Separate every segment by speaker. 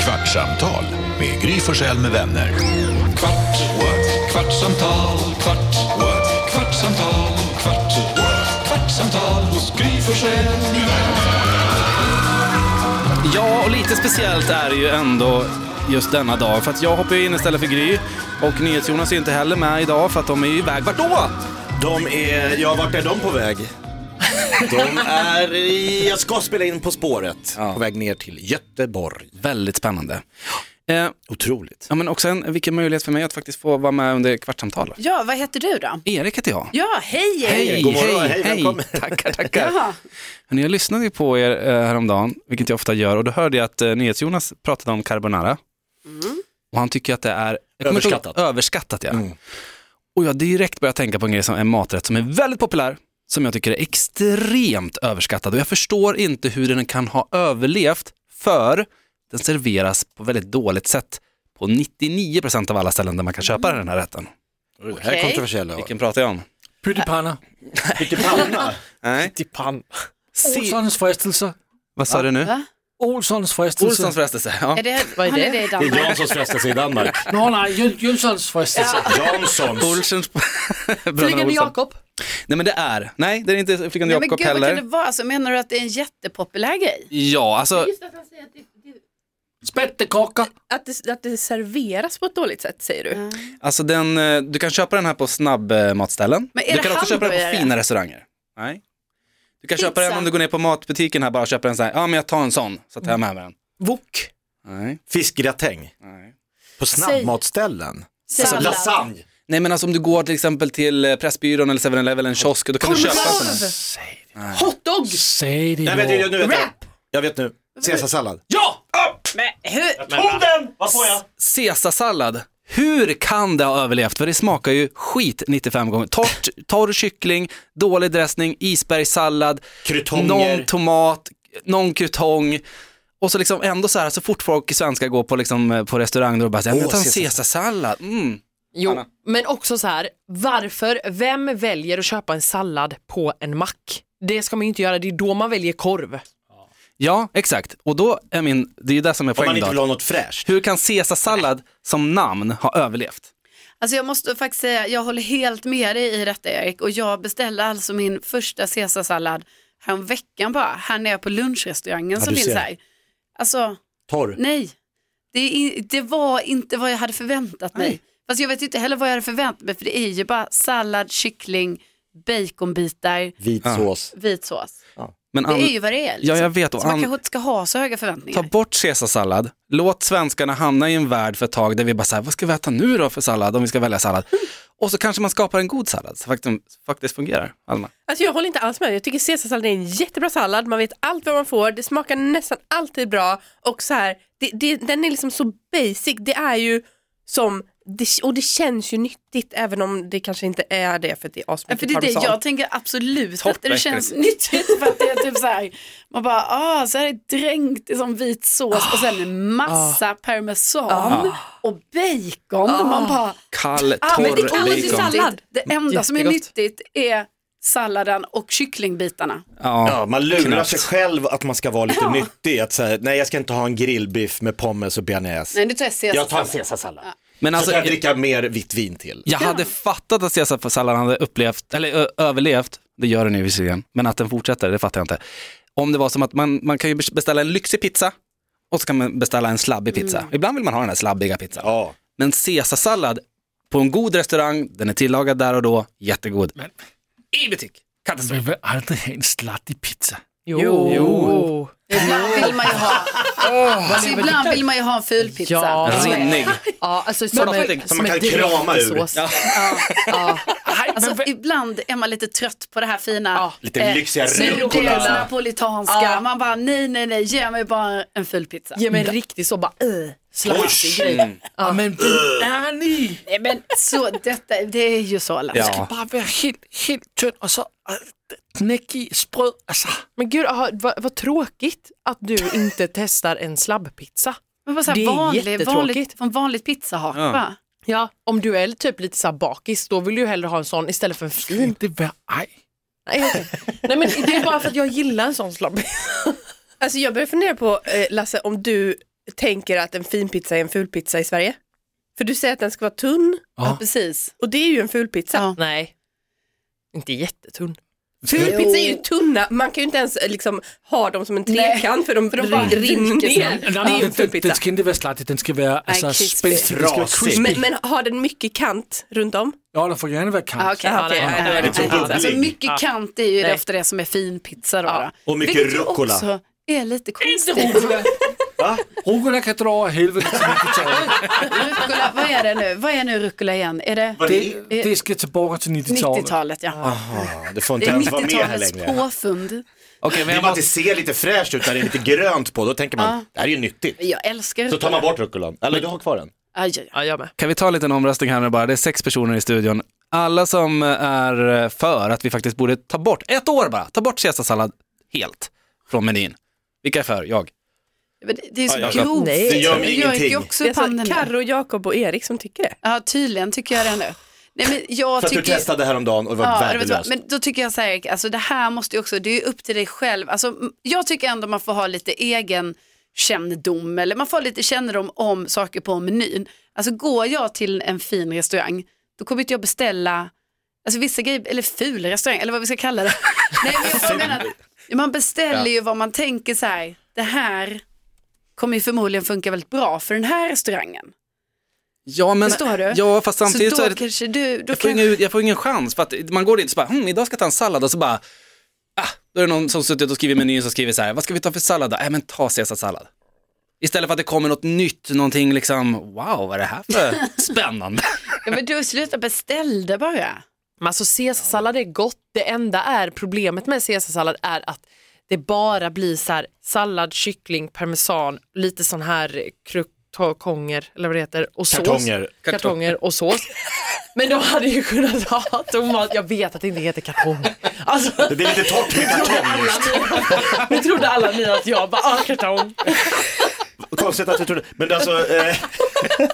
Speaker 1: Kvartsamtal med Gry Forssell med vänner.
Speaker 2: Kvart, what? kvartsamtal, kvart, what? kvartsamtal, kvart, what? kvartsamtal hos Gry Forssell med vänner.
Speaker 3: Ja, och lite speciellt är det ju ändå just denna dag. För att jag hoppar ju in istället för Gry. Och NyhetsJonas är inte heller med idag för att de är ju iväg. Vart då?
Speaker 4: De är, ja vart är de på väg? De är, i- jag ska spela in På spåret, på väg ner till Göteborg.
Speaker 3: Väldigt spännande. Eh,
Speaker 4: Otroligt.
Speaker 3: ja, men också en, vilken möjlighet för mig att faktiskt få vara med under kvartssamtal.
Speaker 5: Ja, vad heter du då?
Speaker 3: Erik heter jag.
Speaker 5: Ja, hej Erik!
Speaker 3: Hej,
Speaker 4: God morgon,
Speaker 3: hej,
Speaker 4: hej, välkommen.
Speaker 3: Tackar, tackar.
Speaker 5: Jaha.
Speaker 3: Hörni, jag lyssnade ju på er eh, häromdagen, vilket jag ofta gör, och då hörde jag att eh, NyhetsJonas pratade om carbonara.
Speaker 4: Mm.
Speaker 3: Och han tycker att det är jag kommer inte ihåg-
Speaker 4: Överskattat.
Speaker 3: överskattat ja. Och jag direkt började tänka på en grej som en maträtt som är väldigt populär, som jag tycker är extremt överskattad. Och jag förstår inte hur den kan ha överlevt, för den serveras på väldigt dåligt sätt på 99% av alla ställen där man kan köpa
Speaker 4: Mm.
Speaker 3: den här rätten.
Speaker 4: Oj, Det här är
Speaker 5: Okej.
Speaker 4: kontroversiella.
Speaker 3: Vilken pratar jag om?
Speaker 6: Pyttipanna.
Speaker 4: Pyttipanna.
Speaker 3: Nej.
Speaker 6: Pyttipanna.
Speaker 3: Se,
Speaker 6: Olssons frestelse.
Speaker 3: vad sa du nu?
Speaker 5: Va?
Speaker 6: Olssons frestelse.
Speaker 3: Olssons frestelse. Ja.
Speaker 5: Är det, vad är det? det i
Speaker 4: Det
Speaker 5: Danmark?
Speaker 4: är Janssons frestar sig i Danmark.
Speaker 6: Nå, nej, Jö- Jönssons frestelse.
Speaker 4: Janssons.
Speaker 3: Olssons... Bröderna
Speaker 6: Flygande
Speaker 3: Olsson.
Speaker 6: Jakob.
Speaker 3: Nej men det är, nej det är inte Flygande
Speaker 5: Nej, men
Speaker 3: Jakob
Speaker 5: gud, vad kan det
Speaker 3: heller.
Speaker 5: vara? Så menar du att det är en jättepopulär grej?
Speaker 3: Ja, alltså
Speaker 6: Spettekaka.
Speaker 7: Att det, att det serveras på ett dåligt sätt säger
Speaker 5: Mm.
Speaker 7: du?
Speaker 3: Alltså den, eh, du kan köpa den här på snabbmatställen.
Speaker 5: Men är
Speaker 3: Du
Speaker 5: det
Speaker 3: kan också köpa den på
Speaker 5: hamburgare?
Speaker 3: fina restauranger. Nej. Du kan köpa den
Speaker 5: Pizza?
Speaker 3: om du går ner på matbutiken här bara och köper en sån här, ja men jag tar en sån så tar jag med mig den.
Speaker 6: Wok.
Speaker 3: Nej.
Speaker 4: Fiskgratäng.
Speaker 3: Nej.
Speaker 4: På snabbmatsställen.
Speaker 5: Sallad.
Speaker 4: Lasagne.
Speaker 3: Nej men alltså om du går till exempel till eh, Pressbyrån eller 7-Eleven eller en kiosk, då kan du köpa en sån här.
Speaker 7: Hotdog!
Speaker 6: Säg det
Speaker 4: Nej, vet du, jag- nu vet jag.
Speaker 7: Wrap.
Speaker 4: Jag vet nu. Caesarsallad.
Speaker 5: Men hur?
Speaker 3: Caesarsallad. Hur kan det ha överlevt? För det smakar ju skit 95 gånger. Torrt, torr kyckling, dålig dressning, isbergssallad,
Speaker 4: Krutonger.
Speaker 3: någon tomat, någon krutong. Och så liksom ändå så här, så fort folk i svenska går på, liksom, eh, på restaurang och bara säger, "Ja, men jag tar en caesarsallad. Mm.
Speaker 8: Jo, men också så här, varför, vem väljer att köpa en sallad på en mack? Det ska man ju inte göra, det är då man väljer korv.
Speaker 3: Ja, exakt. Och då är min, det är ju det som är
Speaker 4: Om man
Speaker 3: poängen
Speaker 4: inte vill ha
Speaker 3: då.
Speaker 4: något fräscht.
Speaker 3: Hur kan caesarsallad som namn ha överlevt?
Speaker 5: Alltså jag måste faktiskt säga, jag håller helt med dig i detta Erik och jag beställde alltså min första caesarsallad veckan bara, här nere på lunchrestaurangen som
Speaker 4: du
Speaker 5: finns
Speaker 4: ser.
Speaker 5: här. Alltså,
Speaker 4: Torr.
Speaker 5: nej, det, är in- det var inte vad jag hade förväntat mig. Fast jag vet inte heller vad jag hade förväntat mig för det är ju bara sallad, kyckling, baconbitar,
Speaker 4: Vit sås.
Speaker 5: vit sås.
Speaker 3: Men
Speaker 5: Det
Speaker 3: an-
Speaker 5: är ju vad det är. liksom.
Speaker 3: Ja, jag vet. Och
Speaker 5: Så man
Speaker 3: an-
Speaker 5: kanske inte ska ha så höga
Speaker 3: Ta
Speaker 5: förväntningar.
Speaker 3: bort caesarsallad, låt svenskarna hamna i en värld för ett tag där vi bara säger vad ska vi äta nu då för sallad om vi ska välja sallad?
Speaker 5: Mm.
Speaker 3: Och så kanske man skapar en god sallad som faktiskt, faktiskt fungerar. Alma.
Speaker 7: Alltså jag håller inte alls med, jag tycker caesarsallad är en jättebra sallad, man vet allt vad man får, det smakar nästan alltid bra och så här, det, det, den är liksom så basic, det är ju som, det, och det känns ju nyttigt även om det kanske inte är det för att det är
Speaker 5: Ja,
Speaker 7: asmycket
Speaker 5: för det är det
Speaker 7: parmesan.
Speaker 5: jag tänker absolut att det
Speaker 3: Toppenäckligt.
Speaker 5: känns nyttigt för att det är typ så här, man bara, ah, så här är det dränkt i sån vit sås och sen massa
Speaker 3: Ah.
Speaker 5: parmesan och bacon.
Speaker 4: Ah.
Speaker 5: Man bara,
Speaker 3: Kall,
Speaker 5: ah, men det
Speaker 3: Ah. torr
Speaker 5: kallas ju
Speaker 3: bacon. Mm,
Speaker 5: sallad. Det enda som är
Speaker 8: Jättegott.
Speaker 5: nyttigt är salladen och kycklingbitarna.
Speaker 3: Ja.
Speaker 4: Ja, man lurar
Speaker 3: Knappt.
Speaker 4: sig själv att man ska vara lite nyttig. Att säga, nej jag ska inte ha en grillbiff med pommes och bearnaise.
Speaker 5: Nej, nu tar
Speaker 4: Jag
Speaker 5: jag
Speaker 4: tar en
Speaker 5: caesarsallad.
Speaker 4: caesarsallad.
Speaker 3: Men
Speaker 4: Så
Speaker 3: alltså,
Speaker 4: kan jag dricka mer vitt vin till.
Speaker 3: jag hade fattat att caesarsalladen hade upplevt, eller ö, överlevt, det gör den ju visserligen, men att den fortsätter, det fattar jag inte. Om det var som att man, man kan ju beställa en lyxig pizza och så kan man beställa en slabbig pizza.
Speaker 5: Mm.
Speaker 3: Ibland vill man ha den här slabbiga pizzan.
Speaker 4: Ja.
Speaker 3: Men caesarsallad på en god restaurang, den är tillagad där och då, jättegod. Men i butik, katastrof.
Speaker 6: Jag vill aldrig ha en slattig pizza.
Speaker 8: Jo.
Speaker 5: Ibland vill man ju ha,
Speaker 3: Ah.
Speaker 5: alltså, ibland vill man ju ha en fylpizza.
Speaker 8: Ja.
Speaker 5: Så är det.
Speaker 3: Rinnig.
Speaker 8: Ja, alltså som,
Speaker 3: Men
Speaker 8: en-
Speaker 3: vad-
Speaker 4: som man kan
Speaker 8: en direkt
Speaker 4: krama ur.
Speaker 8: sås.
Speaker 3: Ja.
Speaker 5: Alltså, ibland är man lite trött på det här fina.
Speaker 3: Ah.
Speaker 4: Lite
Speaker 5: Eh,
Speaker 4: lyxiga
Speaker 5: Nudels,
Speaker 4: rucola.
Speaker 5: napolitanska.
Speaker 8: Ja.
Speaker 5: Man bara nej, nej, nej, ge mig bara en full pizza.
Speaker 8: Ge mig en riktig så bara, uh,
Speaker 4: Oj.
Speaker 8: slattig grej.
Speaker 6: Ja. Men vad är ni?
Speaker 5: Nej, men så detta, det är ju så lätt.
Speaker 3: Ja.
Speaker 6: Bara vara helt, helt tunn och så äh, knäckig spröd. Alltså.
Speaker 8: Men gud, aha, vad, vad tråkigt att du inte testar en slabbpizza.
Speaker 5: Men bara så här,
Speaker 8: Det är
Speaker 5: vanlig,
Speaker 8: jättetråkigt.
Speaker 5: vanligt, från vanligt pizzahak
Speaker 3: Ja.
Speaker 5: va?
Speaker 8: Ja, om du är typ lite så här bakis, då vill du ju hellre ha en sån istället för en fin.
Speaker 6: Inte vara arg.
Speaker 8: Nej, okej. Nej men det är bara för att jag gillar en sån slabbpizza.
Speaker 7: Alltså jag börjar fundera på eh, Lasse om du tänker att en fin pizza är en ful pizza i Sverige. För du säger att den ska vara tunn
Speaker 5: Ja, precis.
Speaker 7: och det är ju en ful pizza.
Speaker 5: Ja.
Speaker 8: Nej, inte jättetunn.
Speaker 7: Ful pizza är ju tunna, man kan ju inte ens eh, liksom, ha dem som en trekant för de, för de bara rinner ner. Det är ju en
Speaker 6: den,
Speaker 7: ful
Speaker 6: den
Speaker 7: pizza.
Speaker 6: ska inte vara slattig, den ska vara alltså,
Speaker 5: crispy.
Speaker 6: spänstig, den ska vara
Speaker 4: Frasig.
Speaker 6: crispy.
Speaker 7: Men, men har den mycket kant runt om?
Speaker 6: Ja, den får gärna vara kant.
Speaker 5: okej.
Speaker 7: Jaha, okej.
Speaker 8: Ja, nej,
Speaker 7: Ja,
Speaker 8: nej,
Speaker 7: då är det
Speaker 4: nej,
Speaker 7: inte
Speaker 4: nej.
Speaker 7: pizza.
Speaker 5: Alltså mycket kant är ju
Speaker 8: Nej.
Speaker 5: efter det som är fin pizza då. då.
Speaker 4: Och mycket
Speaker 5: Vilket ju
Speaker 4: rucola.
Speaker 5: också är lite konstigt.
Speaker 6: Rucola kan dra åt helvete så mycket som helst.
Speaker 5: Rucola, vad är det nu? Vad är nu rucola igen? Är det
Speaker 6: det, det ska tillbaka till 90-talet.
Speaker 5: 90-talet? Ja.
Speaker 4: Ja, det får inte
Speaker 5: Det
Speaker 4: ens
Speaker 5: är
Speaker 4: vara Ah. med här
Speaker 5: 90-talets
Speaker 4: längre.
Speaker 5: påfund.
Speaker 3: Okej,
Speaker 4: Det
Speaker 3: men
Speaker 4: är
Speaker 3: jag
Speaker 4: bara att det
Speaker 3: måste...
Speaker 4: ser lite fräscht ut när det är lite grönt på, då tänker man, det här är ju nyttigt.
Speaker 5: Jag älskar
Speaker 4: Så tar man
Speaker 5: rucola.
Speaker 4: bort rucolan, eller du har kvar den.
Speaker 5: Aj, aj, aj.
Speaker 8: Ja, jag med.
Speaker 3: Kan vi ta en liten omröstning här nu bara? Det är sex personer i studion. Alla som är för att vi faktiskt borde ta bort, ett år bara, ta bort caesarsallad helt från menyn. Vilka är för? Jag.
Speaker 5: Men det- Det är
Speaker 4: Aj, aj,
Speaker 5: så
Speaker 4: aj.
Speaker 5: grovt.
Speaker 8: Nej.
Speaker 4: Det gör mig
Speaker 5: Jag gick
Speaker 4: ingenting.
Speaker 5: ju också
Speaker 7: Det är
Speaker 5: upp handen
Speaker 7: alltså
Speaker 5: där.
Speaker 7: Carro, Jakob och Erik som tycker det.
Speaker 5: Ja, tydligen tycker jag det nu. Nej, men jag
Speaker 4: För att
Speaker 5: tycker...
Speaker 4: du testade häromdagen och det var
Speaker 5: Ja, det vet jag.
Speaker 4: värdelöst.
Speaker 5: men då tycker jag så här, Erik, alltså det här måste ju också, det är ju upp till dig själv. Alltså, m- jag tycker ändå man får ha lite egen kännedom eller man får ha lite kännedom om saker på menyn. Alltså går jag till en fin restaurang, då kommer inte jag beställa, alltså vissa grejer, eller ful restaurang, eller vad vi ska kalla det. Nej, men jag menar, att man beställer ju vad man tänker så här, det här kommer ju förmodligen funka väldigt bra för den här restaurangen.
Speaker 3: Ja, men,
Speaker 5: Förstår du?
Speaker 3: Ja, fast samtidigt
Speaker 5: så
Speaker 3: så,
Speaker 5: då
Speaker 3: är det,
Speaker 5: kanske du, då
Speaker 3: jag, får
Speaker 5: kanske...
Speaker 3: ingen, jag får ingen chans. För att man går dit och så bara, hm, idag ska jag ta en sallad och så bara, ah, då är det någon som suttit och skrivit i menyn som skriver så här, vad ska vi ta för sallad då? Nej, men ta caesarsallad. Istället för att det kommer något nytt, någonting liksom, wow, vad är det här för spännande?
Speaker 5: Ja, men du sluta beställde bara.
Speaker 8: Men alltså caesarsallad är gott. Det enda är problemet med caesarsallad är att det bara blir så här sallad, kyckling, parmesan, lite sån här krukonger eller vad det heter och sås.
Speaker 4: Kartonger.
Speaker 8: Kartonger och sås. Men de hade ju kunnat ha tomat. Jag vet att det inte heter kartonger. Alltså,
Speaker 4: Det är lite torrt med kartong just.
Speaker 8: nu trodde alla ni att jag bara, ah, kartong.
Speaker 4: Konstigt att du trodde, men alltså. Eh,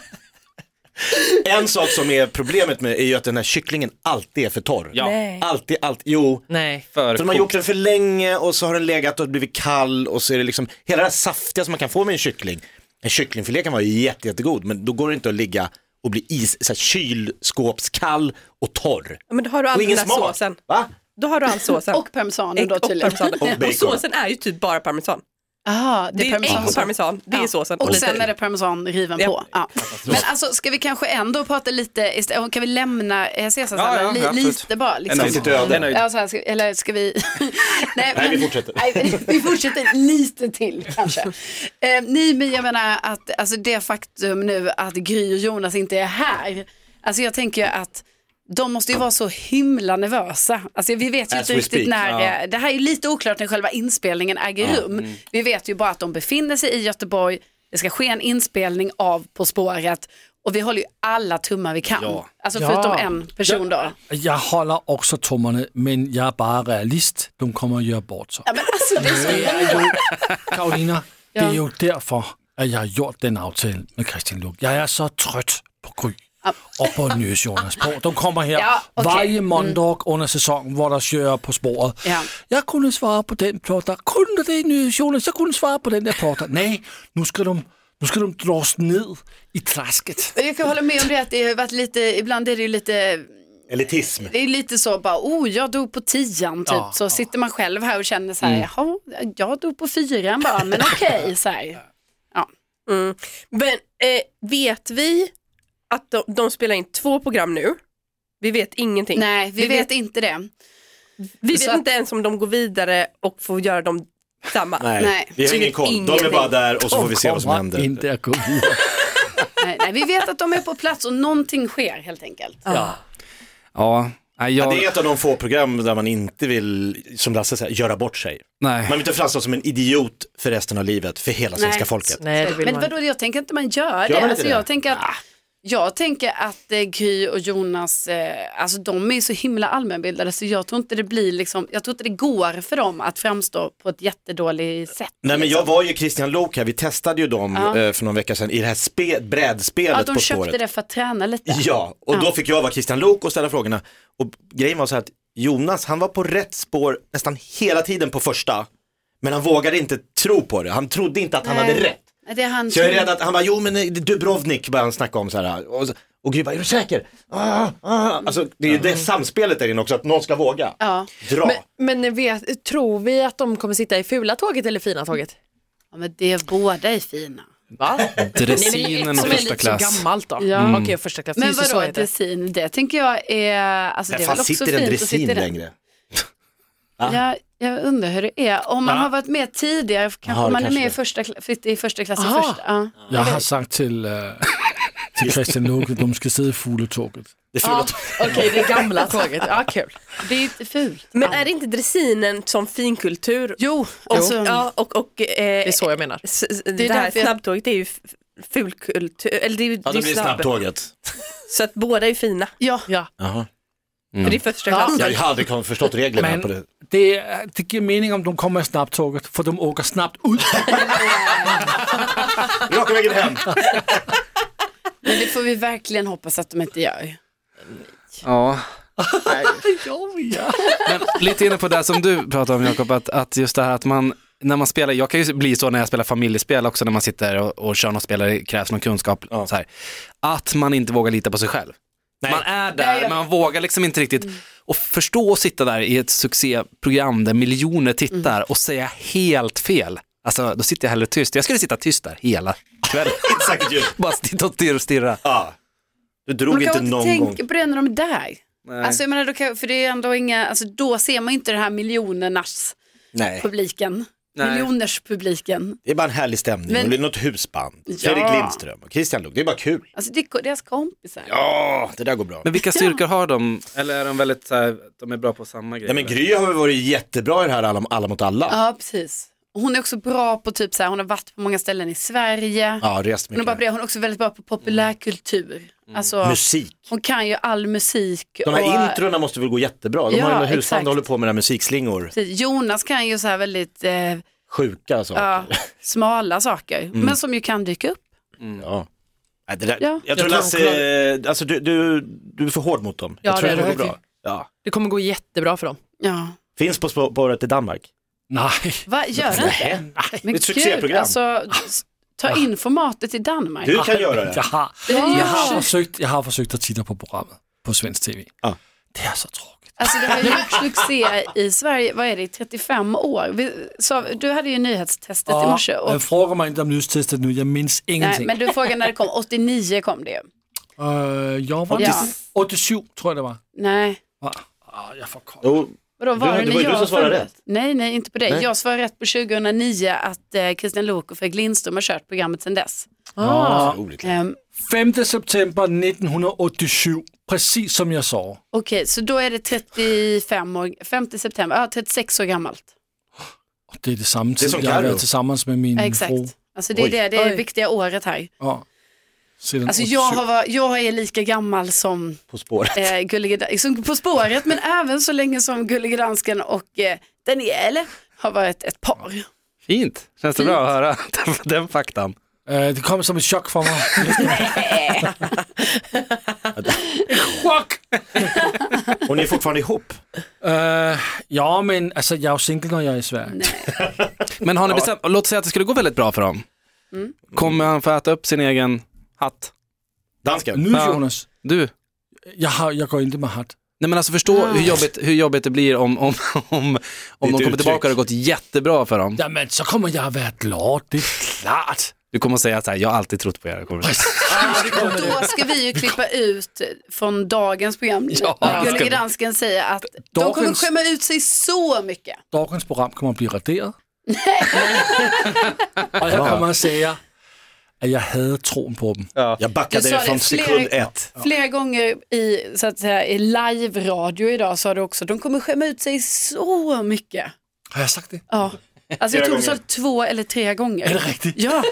Speaker 4: en sak som är problemet med är ju att den här kycklingen alltid är för torr.
Speaker 3: Ja.
Speaker 7: Nej.
Speaker 4: Alltid, alltid, jo.
Speaker 8: Nej.
Speaker 3: För
Speaker 4: För de har
Speaker 3: kokt.
Speaker 4: gjort den för länge och så har den legat och blivit kall och så är det liksom hela det här saftiga som man kan få med en kyckling. En kycklingfilé kan vara jätte, jättegod men då går det inte att ligga och bli is, så här, kylskåpskall och torr.
Speaker 7: Ja, Men då har du all
Speaker 4: Och
Speaker 7: den
Speaker 4: ingen
Speaker 7: där
Speaker 4: smak.
Speaker 7: såsen.
Speaker 4: Va?
Speaker 7: Då har du all såsen.
Speaker 5: Och parmesanen då
Speaker 7: och
Speaker 5: tydligen.
Speaker 7: parmesan.
Speaker 4: Och bacon.
Speaker 7: Och såsen är ju typ bara parmesan.
Speaker 5: Aha,
Speaker 7: Det är ägg och
Speaker 5: sås.
Speaker 7: parmesan, det är såsen.
Speaker 5: Och
Speaker 7: lite-
Speaker 5: sen är det parmesan riven
Speaker 7: Ja.
Speaker 5: på. Ja. Men alltså ska vi kanske ändå prata lite, istä- kan vi lämna eh,
Speaker 3: Ja, ja,
Speaker 5: caesarsalladen li,
Speaker 3: absolut.
Speaker 5: lite bara?
Speaker 3: En nöjd.
Speaker 5: Liksom.
Speaker 4: Sitt öde.
Speaker 3: En nöjd.
Speaker 5: Ja, så här, ska, eller ska vi? nej,
Speaker 4: Nej, vi
Speaker 5: men-
Speaker 4: fortsätter.
Speaker 5: Nej, vi fortsätter lite till kanske. Eh, nej, men jag menar att alltså, det faktum nu att Gry och Jonas inte är här. Alltså jag tänker ju att de måste ju vara så himla nervösa. Alltså vi vet ju
Speaker 4: As
Speaker 5: inte
Speaker 4: we
Speaker 5: riktigt
Speaker 4: speak,
Speaker 5: när, eh, det här är ju lite oklart när själva inspelningen äger rum.
Speaker 6: Mm.
Speaker 5: Vi vet ju bara att de befinner sig i Göteborg, det ska ske en inspelning av På spåret och vi håller ju alla tummar vi kan. Alltså
Speaker 6: Ja.
Speaker 5: förutom en person då.
Speaker 6: Jag håller också tummarna, men jag är bara realist. De kommer att göra bort sig.
Speaker 5: Ja, men alltså, det är så
Speaker 6: Det är ju, Karolina, det
Speaker 5: Ja.
Speaker 6: är ju därför att jag har gjort den avtalen med Christian Luuk. Jag är så trött på Gry och på Nyhets Jonas på. De kommer här
Speaker 5: Ja, okej.
Speaker 6: varje måndag under säsongen, var de kör På spåret.
Speaker 5: Ja.
Speaker 6: Jag kunde svara på den plåten, kunde det Nyhets Jonas? Jag kunde svara på den där plåten. Nej, nu ska de, nu ska de dras ned i trasket.
Speaker 5: Jag kan hålla med om det att det har varit lite, ibland är det ju lite,
Speaker 4: Elitism.
Speaker 5: det är lite så bara, oh jag dog på tian typ. så sitter man själv här och känner så här,
Speaker 6: Mm.
Speaker 5: jaha, jag dog på fyran bara, men okej så här.
Speaker 7: Men eh, vet vi att de, de spelar in två program nu? Vi vet ingenting.
Speaker 5: Nej, vi, vet inte det.
Speaker 7: vi
Speaker 5: så
Speaker 7: vet
Speaker 5: att-
Speaker 7: inte ens om de går vidare och får göra dem samma.
Speaker 4: Nej,
Speaker 5: Nej.
Speaker 4: vi har ingen koll. De är bara där och så får vi se vad som
Speaker 6: Kommer
Speaker 4: händer.
Speaker 6: Inte att gå vidare.
Speaker 5: Nej, nej, vi vet att de är på plats och någonting sker helt enkelt.
Speaker 3: Ja, nej, jag,
Speaker 4: Det är ett av de få program där man inte vill, som Lasse säger, göra bort sig.
Speaker 3: nej.
Speaker 4: Man vill inte framstå som en idiot för resten av livet, för hela svenska
Speaker 5: Nej.
Speaker 4: folket.
Speaker 8: Nej, det vill
Speaker 5: Men
Speaker 8: man
Speaker 5: vadå, jag tänker inte man gör det.
Speaker 4: man inte
Speaker 5: alltså,
Speaker 4: det? Ah.
Speaker 5: jag, tänker att, jag tänker att eh, Gry och Jonas, eh, alltså de är så himla allmänbildade så jag tror inte det blir liksom, jag tror inte det går för dem att framstå på ett jättedåligt sätt.
Speaker 4: Nej men
Speaker 5: liksom.
Speaker 4: jag var ju Christian Lok här, vi testade ju dem
Speaker 5: Ja.
Speaker 4: eh, för någon vecka sedan i det här spe- brädspelet
Speaker 5: Ja, de
Speaker 4: På
Speaker 5: köpte
Speaker 4: spåret.
Speaker 5: det för att träna lite.
Speaker 4: Ja, och då fick jag vara Christian Lok och ställa frågorna. Och grejen var så här att Jonas, han var på rätt spår nästan hela tiden på första, men han vågade inte tro på det. Han trodde inte att han
Speaker 5: Nej.
Speaker 4: hade rätt.
Speaker 5: Eh, Det är han
Speaker 4: Så jag är
Speaker 5: som-
Speaker 4: rädd att han bara, jo men eh, Dubrovnik började han snacka om så här. Och, så- och Gry bara, är du säker? Ah, ah. Alltså det är ju det samspelet där inne också, att någon ska våga.
Speaker 5: Ja.
Speaker 4: Dra.
Speaker 8: Men, men vet, tror vi att de kommer sitta i fula tåget eller fina tåget?
Speaker 5: ja, men det är båda är fina.
Speaker 8: Va?
Speaker 3: Dressinen och första
Speaker 8: Som är lite
Speaker 3: klass.
Speaker 8: så gammalt då.
Speaker 5: Ja.
Speaker 8: Mm. Okej, första klass.
Speaker 5: Men
Speaker 8: Just det, så
Speaker 5: vadå,
Speaker 8: heter det.
Speaker 5: dressin? Det tänker jag är, alltså det är
Speaker 4: Fan,
Speaker 5: väl också
Speaker 4: sitter en
Speaker 5: fint att
Speaker 4: dressin
Speaker 5: sitta i den.
Speaker 4: längre?
Speaker 5: Ja, jag undrar hur det är. Om man har varit med tidigare, kanske
Speaker 4: det
Speaker 5: man är
Speaker 4: kanske
Speaker 5: med i
Speaker 4: det.
Speaker 5: första, kla- sitter i första klass i
Speaker 8: Aha.
Speaker 5: första. Ja.
Speaker 6: Jag har sagt till, øh, til Christian Lukke, de skal sidde i fugletåget.
Speaker 4: Det är
Speaker 8: Ja,
Speaker 4: fult.
Speaker 8: Okej, det gamla tåget. Ja, kul.
Speaker 5: Det är ju inte fult.
Speaker 7: Men är det inte dressinen som finkultur?
Speaker 5: Jo, alltså,
Speaker 7: ja, och, och eh,
Speaker 8: Det är så jag menar.
Speaker 7: s- s- det,
Speaker 5: är
Speaker 7: här
Speaker 5: därför jag-
Speaker 7: snabbtåget är ju f- fulkultur, eller det är ju
Speaker 4: Ja,
Speaker 7: det
Speaker 4: det
Speaker 7: är
Speaker 4: blir
Speaker 7: snabb.
Speaker 4: snabbtåget.
Speaker 7: Så att båda är fina,
Speaker 5: ja.
Speaker 8: Ja.
Speaker 4: Jaha. Mm.
Speaker 7: för det är första klassen.
Speaker 4: Jag har aldrig kom- förstått reglerna
Speaker 6: Men-
Speaker 4: på det.
Speaker 6: Det, er- det giver mening, om de kommer i snaptåget, for de åker snapt ud.
Speaker 4: Raka vägen hem.
Speaker 5: Men det får vi verkligen hoppas att de inte gör.
Speaker 3: Ja. Men lite inne på det som du pratade om Jakob, att, att just det här att man, när man spelar, jag kan ju bli så när jag spelar familjespel också, när man sitter och, och kör något spel där det krävs någon kunskap, så här, att man inte vågar lita på sig själv. Man är där, men man vågar liksom inte riktigt. Och förstå att sitta där i ett succéprogram där miljoner tittar och säga helt fel. Alltså, då sitter jag hellre tyst. Jag skulle sitta tyst där hela kvällen.
Speaker 4: Säkert ju.
Speaker 3: Bara sitta och stirra och stirra.
Speaker 4: Ja. Du drog
Speaker 5: Man
Speaker 4: inte
Speaker 5: kan inte
Speaker 4: någon gång.
Speaker 5: tänka på det när de är där. Alltså, jag menar, då kan, för det är ändå inga, alltså, då ser man ju inte den här miljonernas
Speaker 4: Nej,
Speaker 5: publiken. Miljoners publiken.
Speaker 4: det är bara en härlig stämning.
Speaker 5: Men-
Speaker 4: Det blir något husband. Fredrik Lindström och Christian Luuk. Det är bara kul.
Speaker 5: Alltså, det är ko- deras kompisar.
Speaker 4: Ja, det där går bra.
Speaker 3: Men vilka styrkor har de? Eller är de väldigt så här, de är bra på samma grej?
Speaker 4: Nej men Gry har väl varit jättebra i det här alla, alla mot alla.
Speaker 5: Ja, precis. Hon är också bra på typ så här, hon har varit på många ställen i Sverige.
Speaker 4: Ja, rest
Speaker 5: Hon är,
Speaker 4: mycket. Mm.
Speaker 5: bara på det. hon är också väldigt bra på populärkultur. Alltså,
Speaker 4: Musik.
Speaker 5: hon kan ju all musik.
Speaker 4: De här
Speaker 5: och, eh,
Speaker 4: introna måste väl gå jättebra. De
Speaker 5: Ja,
Speaker 4: har ju något husband
Speaker 5: exakt.
Speaker 4: och håller på med där musikslingor.
Speaker 5: Precis. Jonas kan ju så här väldigt eh,
Speaker 4: Sjuka alltså. saker.
Speaker 5: ja, smala saker,
Speaker 4: Mm.
Speaker 5: men som ju kan dyka upp.
Speaker 4: Ja. Nej, det där,
Speaker 5: Ja.
Speaker 4: Jag tror
Speaker 8: Jag tror
Speaker 4: Lasse, eh, alltså du, du, du är för hård mot dem. jag
Speaker 8: Ja,
Speaker 4: tror
Speaker 8: det
Speaker 4: att
Speaker 8: är
Speaker 4: det
Speaker 8: du
Speaker 4: går bra. Ja.
Speaker 8: Det kommer gå jättebra för dem.
Speaker 5: Ja.
Speaker 4: Finns på Spå- spåret i Danmark.
Speaker 6: Nej,
Speaker 5: Vad gör han?
Speaker 4: Nej.
Speaker 5: Men
Speaker 4: ett succéprogram. Ah.
Speaker 5: alltså, s- ta in formatet i Danmark.
Speaker 4: Du kan göra det.
Speaker 6: jeg har,
Speaker 5: Det är ju-
Speaker 6: jeg har, forsøgt, jeg har forsøgt at titte på programmet på svensk tv.
Speaker 4: Ja.
Speaker 6: Det er så tråkigt.
Speaker 5: Alltså det har ju gjort succé i Sverige, vad är det, i 35 år. Vi, så, du hade ju nyhetstestet i morse.
Speaker 6: Og øh,
Speaker 5: Och,
Speaker 6: jeg frågar mig ikke om nyhedstestet nu, jeg mindes
Speaker 5: nej,
Speaker 6: ingenting.
Speaker 5: men du frågade när det kom, 89 kom det ju.
Speaker 6: Øh, jeg var
Speaker 5: Ja.
Speaker 6: 87, tror jeg det var.
Speaker 5: Nej,
Speaker 6: Ah, jeg får kold.
Speaker 4: Jo,
Speaker 5: vadå var
Speaker 4: Du-
Speaker 5: det
Speaker 4: det var ju
Speaker 5: när
Speaker 4: du
Speaker 5: jag
Speaker 4: som svarade
Speaker 5: föddes?
Speaker 4: rätt.
Speaker 5: Nej, nej, inte på dig. Jag svarade rätt på 2009 att eh, Christian Lok och Fredrik Lindström har kört programmet sedan dess.
Speaker 4: ah. roligt.
Speaker 5: Ehm,
Speaker 6: 5. september 1987, præcis som jeg sov.
Speaker 5: Okej, så då är det 35 år, 5 september, ja 36 år gammalt.
Speaker 6: Og det er det samme tid,
Speaker 4: som
Speaker 6: jeg har
Speaker 4: Carlo.
Speaker 6: været sammen med min
Speaker 5: Ja,
Speaker 6: fru.
Speaker 5: exakt. Alltså det är
Speaker 4: Oj.
Speaker 5: det, det är
Speaker 8: Oj.
Speaker 5: viktiga året här.
Speaker 6: Ja. Siden
Speaker 5: Alltså jag,
Speaker 6: 87.
Speaker 5: har, var- jag är lika gammal som
Speaker 4: På spåret.
Speaker 5: eh, Gullige Dan- som På spåret, men även så länge som Gullige Dansken och eh, Daniele har varit ett par.
Speaker 3: Fint, känns det bra att höra den, den faktan?
Speaker 6: Øh, det kom som et chok for mig. chok!
Speaker 4: Och ni är fortfarande ihop.
Speaker 6: Øh, ja, men altså, jeg er jo single, når jeg er i Sverige.
Speaker 3: Men har ni bestämt, låt säga att det skulle gå väldigt bra för dem. Kommer han få äta upp sin egen hatt?
Speaker 4: Dansken.
Speaker 6: Nu,
Speaker 3: Ja.
Speaker 6: Jonas,
Speaker 3: Du?
Speaker 6: jeg, har, jeg går ikke med hat.
Speaker 3: Nej men alltså förstå hur, jobbigt, hur jobbigt det blir om, om, om, om de
Speaker 4: Ditt
Speaker 3: kommer
Speaker 4: uttryck.
Speaker 3: tillbaka och det har gått jättebra för dem.
Speaker 6: Jamen, så kommer jeg at være glad, det er klart.
Speaker 3: Du kommer säga så här, jag har alltid trott på er. Jag kommer-
Speaker 5: Och då ska vi ju klippa ut från dagens program.
Speaker 3: Ja,
Speaker 5: Gullige
Speaker 3: ska vi.
Speaker 5: Dansken säger att de kommer
Speaker 6: Dagens-
Speaker 5: skämma ut sig så mycket.
Speaker 6: Dawkins program kommer at blive raderet. og jeg kommer og siger, at jeg havde troen på dem.
Speaker 4: Jag
Speaker 5: Du
Speaker 4: backade
Speaker 5: sa
Speaker 4: er
Speaker 5: det
Speaker 4: från
Speaker 5: flera-
Speaker 4: sekund ett.
Speaker 5: Flera gånger i, så att säga, i live-radio idag sa du också de kommer skämma ut sig så mycket.
Speaker 6: Har jeg sagt det?
Speaker 5: Ja. Alltså jag
Speaker 4: Flera
Speaker 5: tror du sa det två eller tre gånger. Är det
Speaker 6: rigtigt?
Speaker 5: Ja.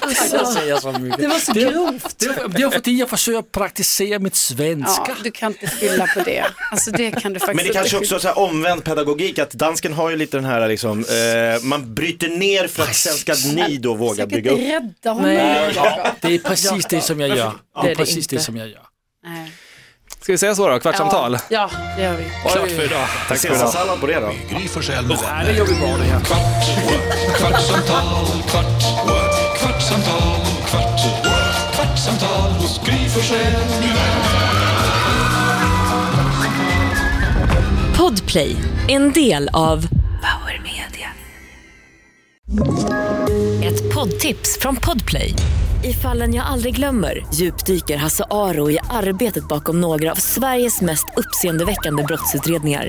Speaker 5: Alltså,
Speaker 6: Jeg så mycket.
Speaker 5: det var så grovt.
Speaker 6: Det er, jo- det er jo fordi, jeg forsøger at praktisere mit svenska.
Speaker 5: Ja, du kan inte skylla på det. Alltså det kan du faktiskt
Speaker 4: Men det kanske också
Speaker 5: inte
Speaker 4: är så här omvänd pedagogik, att dansken har ju lite den här liksom, eh, man bryter ner för att sen ska ni då våga
Speaker 5: Jag kan
Speaker 4: bygga upp.
Speaker 5: inte rädda honom.
Speaker 8: Nej.
Speaker 5: Jakob.
Speaker 6: Det er præcis det, som jeg gør. Det
Speaker 8: det
Speaker 6: er præcis
Speaker 8: ikke.
Speaker 6: det, som jeg gør.
Speaker 5: Nej,
Speaker 3: Ska vi säga så då, kvartsamtal?
Speaker 8: Ja,
Speaker 5: det gör vi.
Speaker 4: Klart för idag. Tack för idag. Sallad på det då.
Speaker 1: Gry Forssell med vänner.
Speaker 2: Kvart, what? kvartsamtal, kvart, what?
Speaker 7: Podplay, en del av
Speaker 9: Power Media.
Speaker 7: ett poddtips från Podplay. I fallen jag aldrig glömmer djupdyker Hasse Aro i arbetet bakom några av Sveriges mest uppseendeväckande brottsutredningar.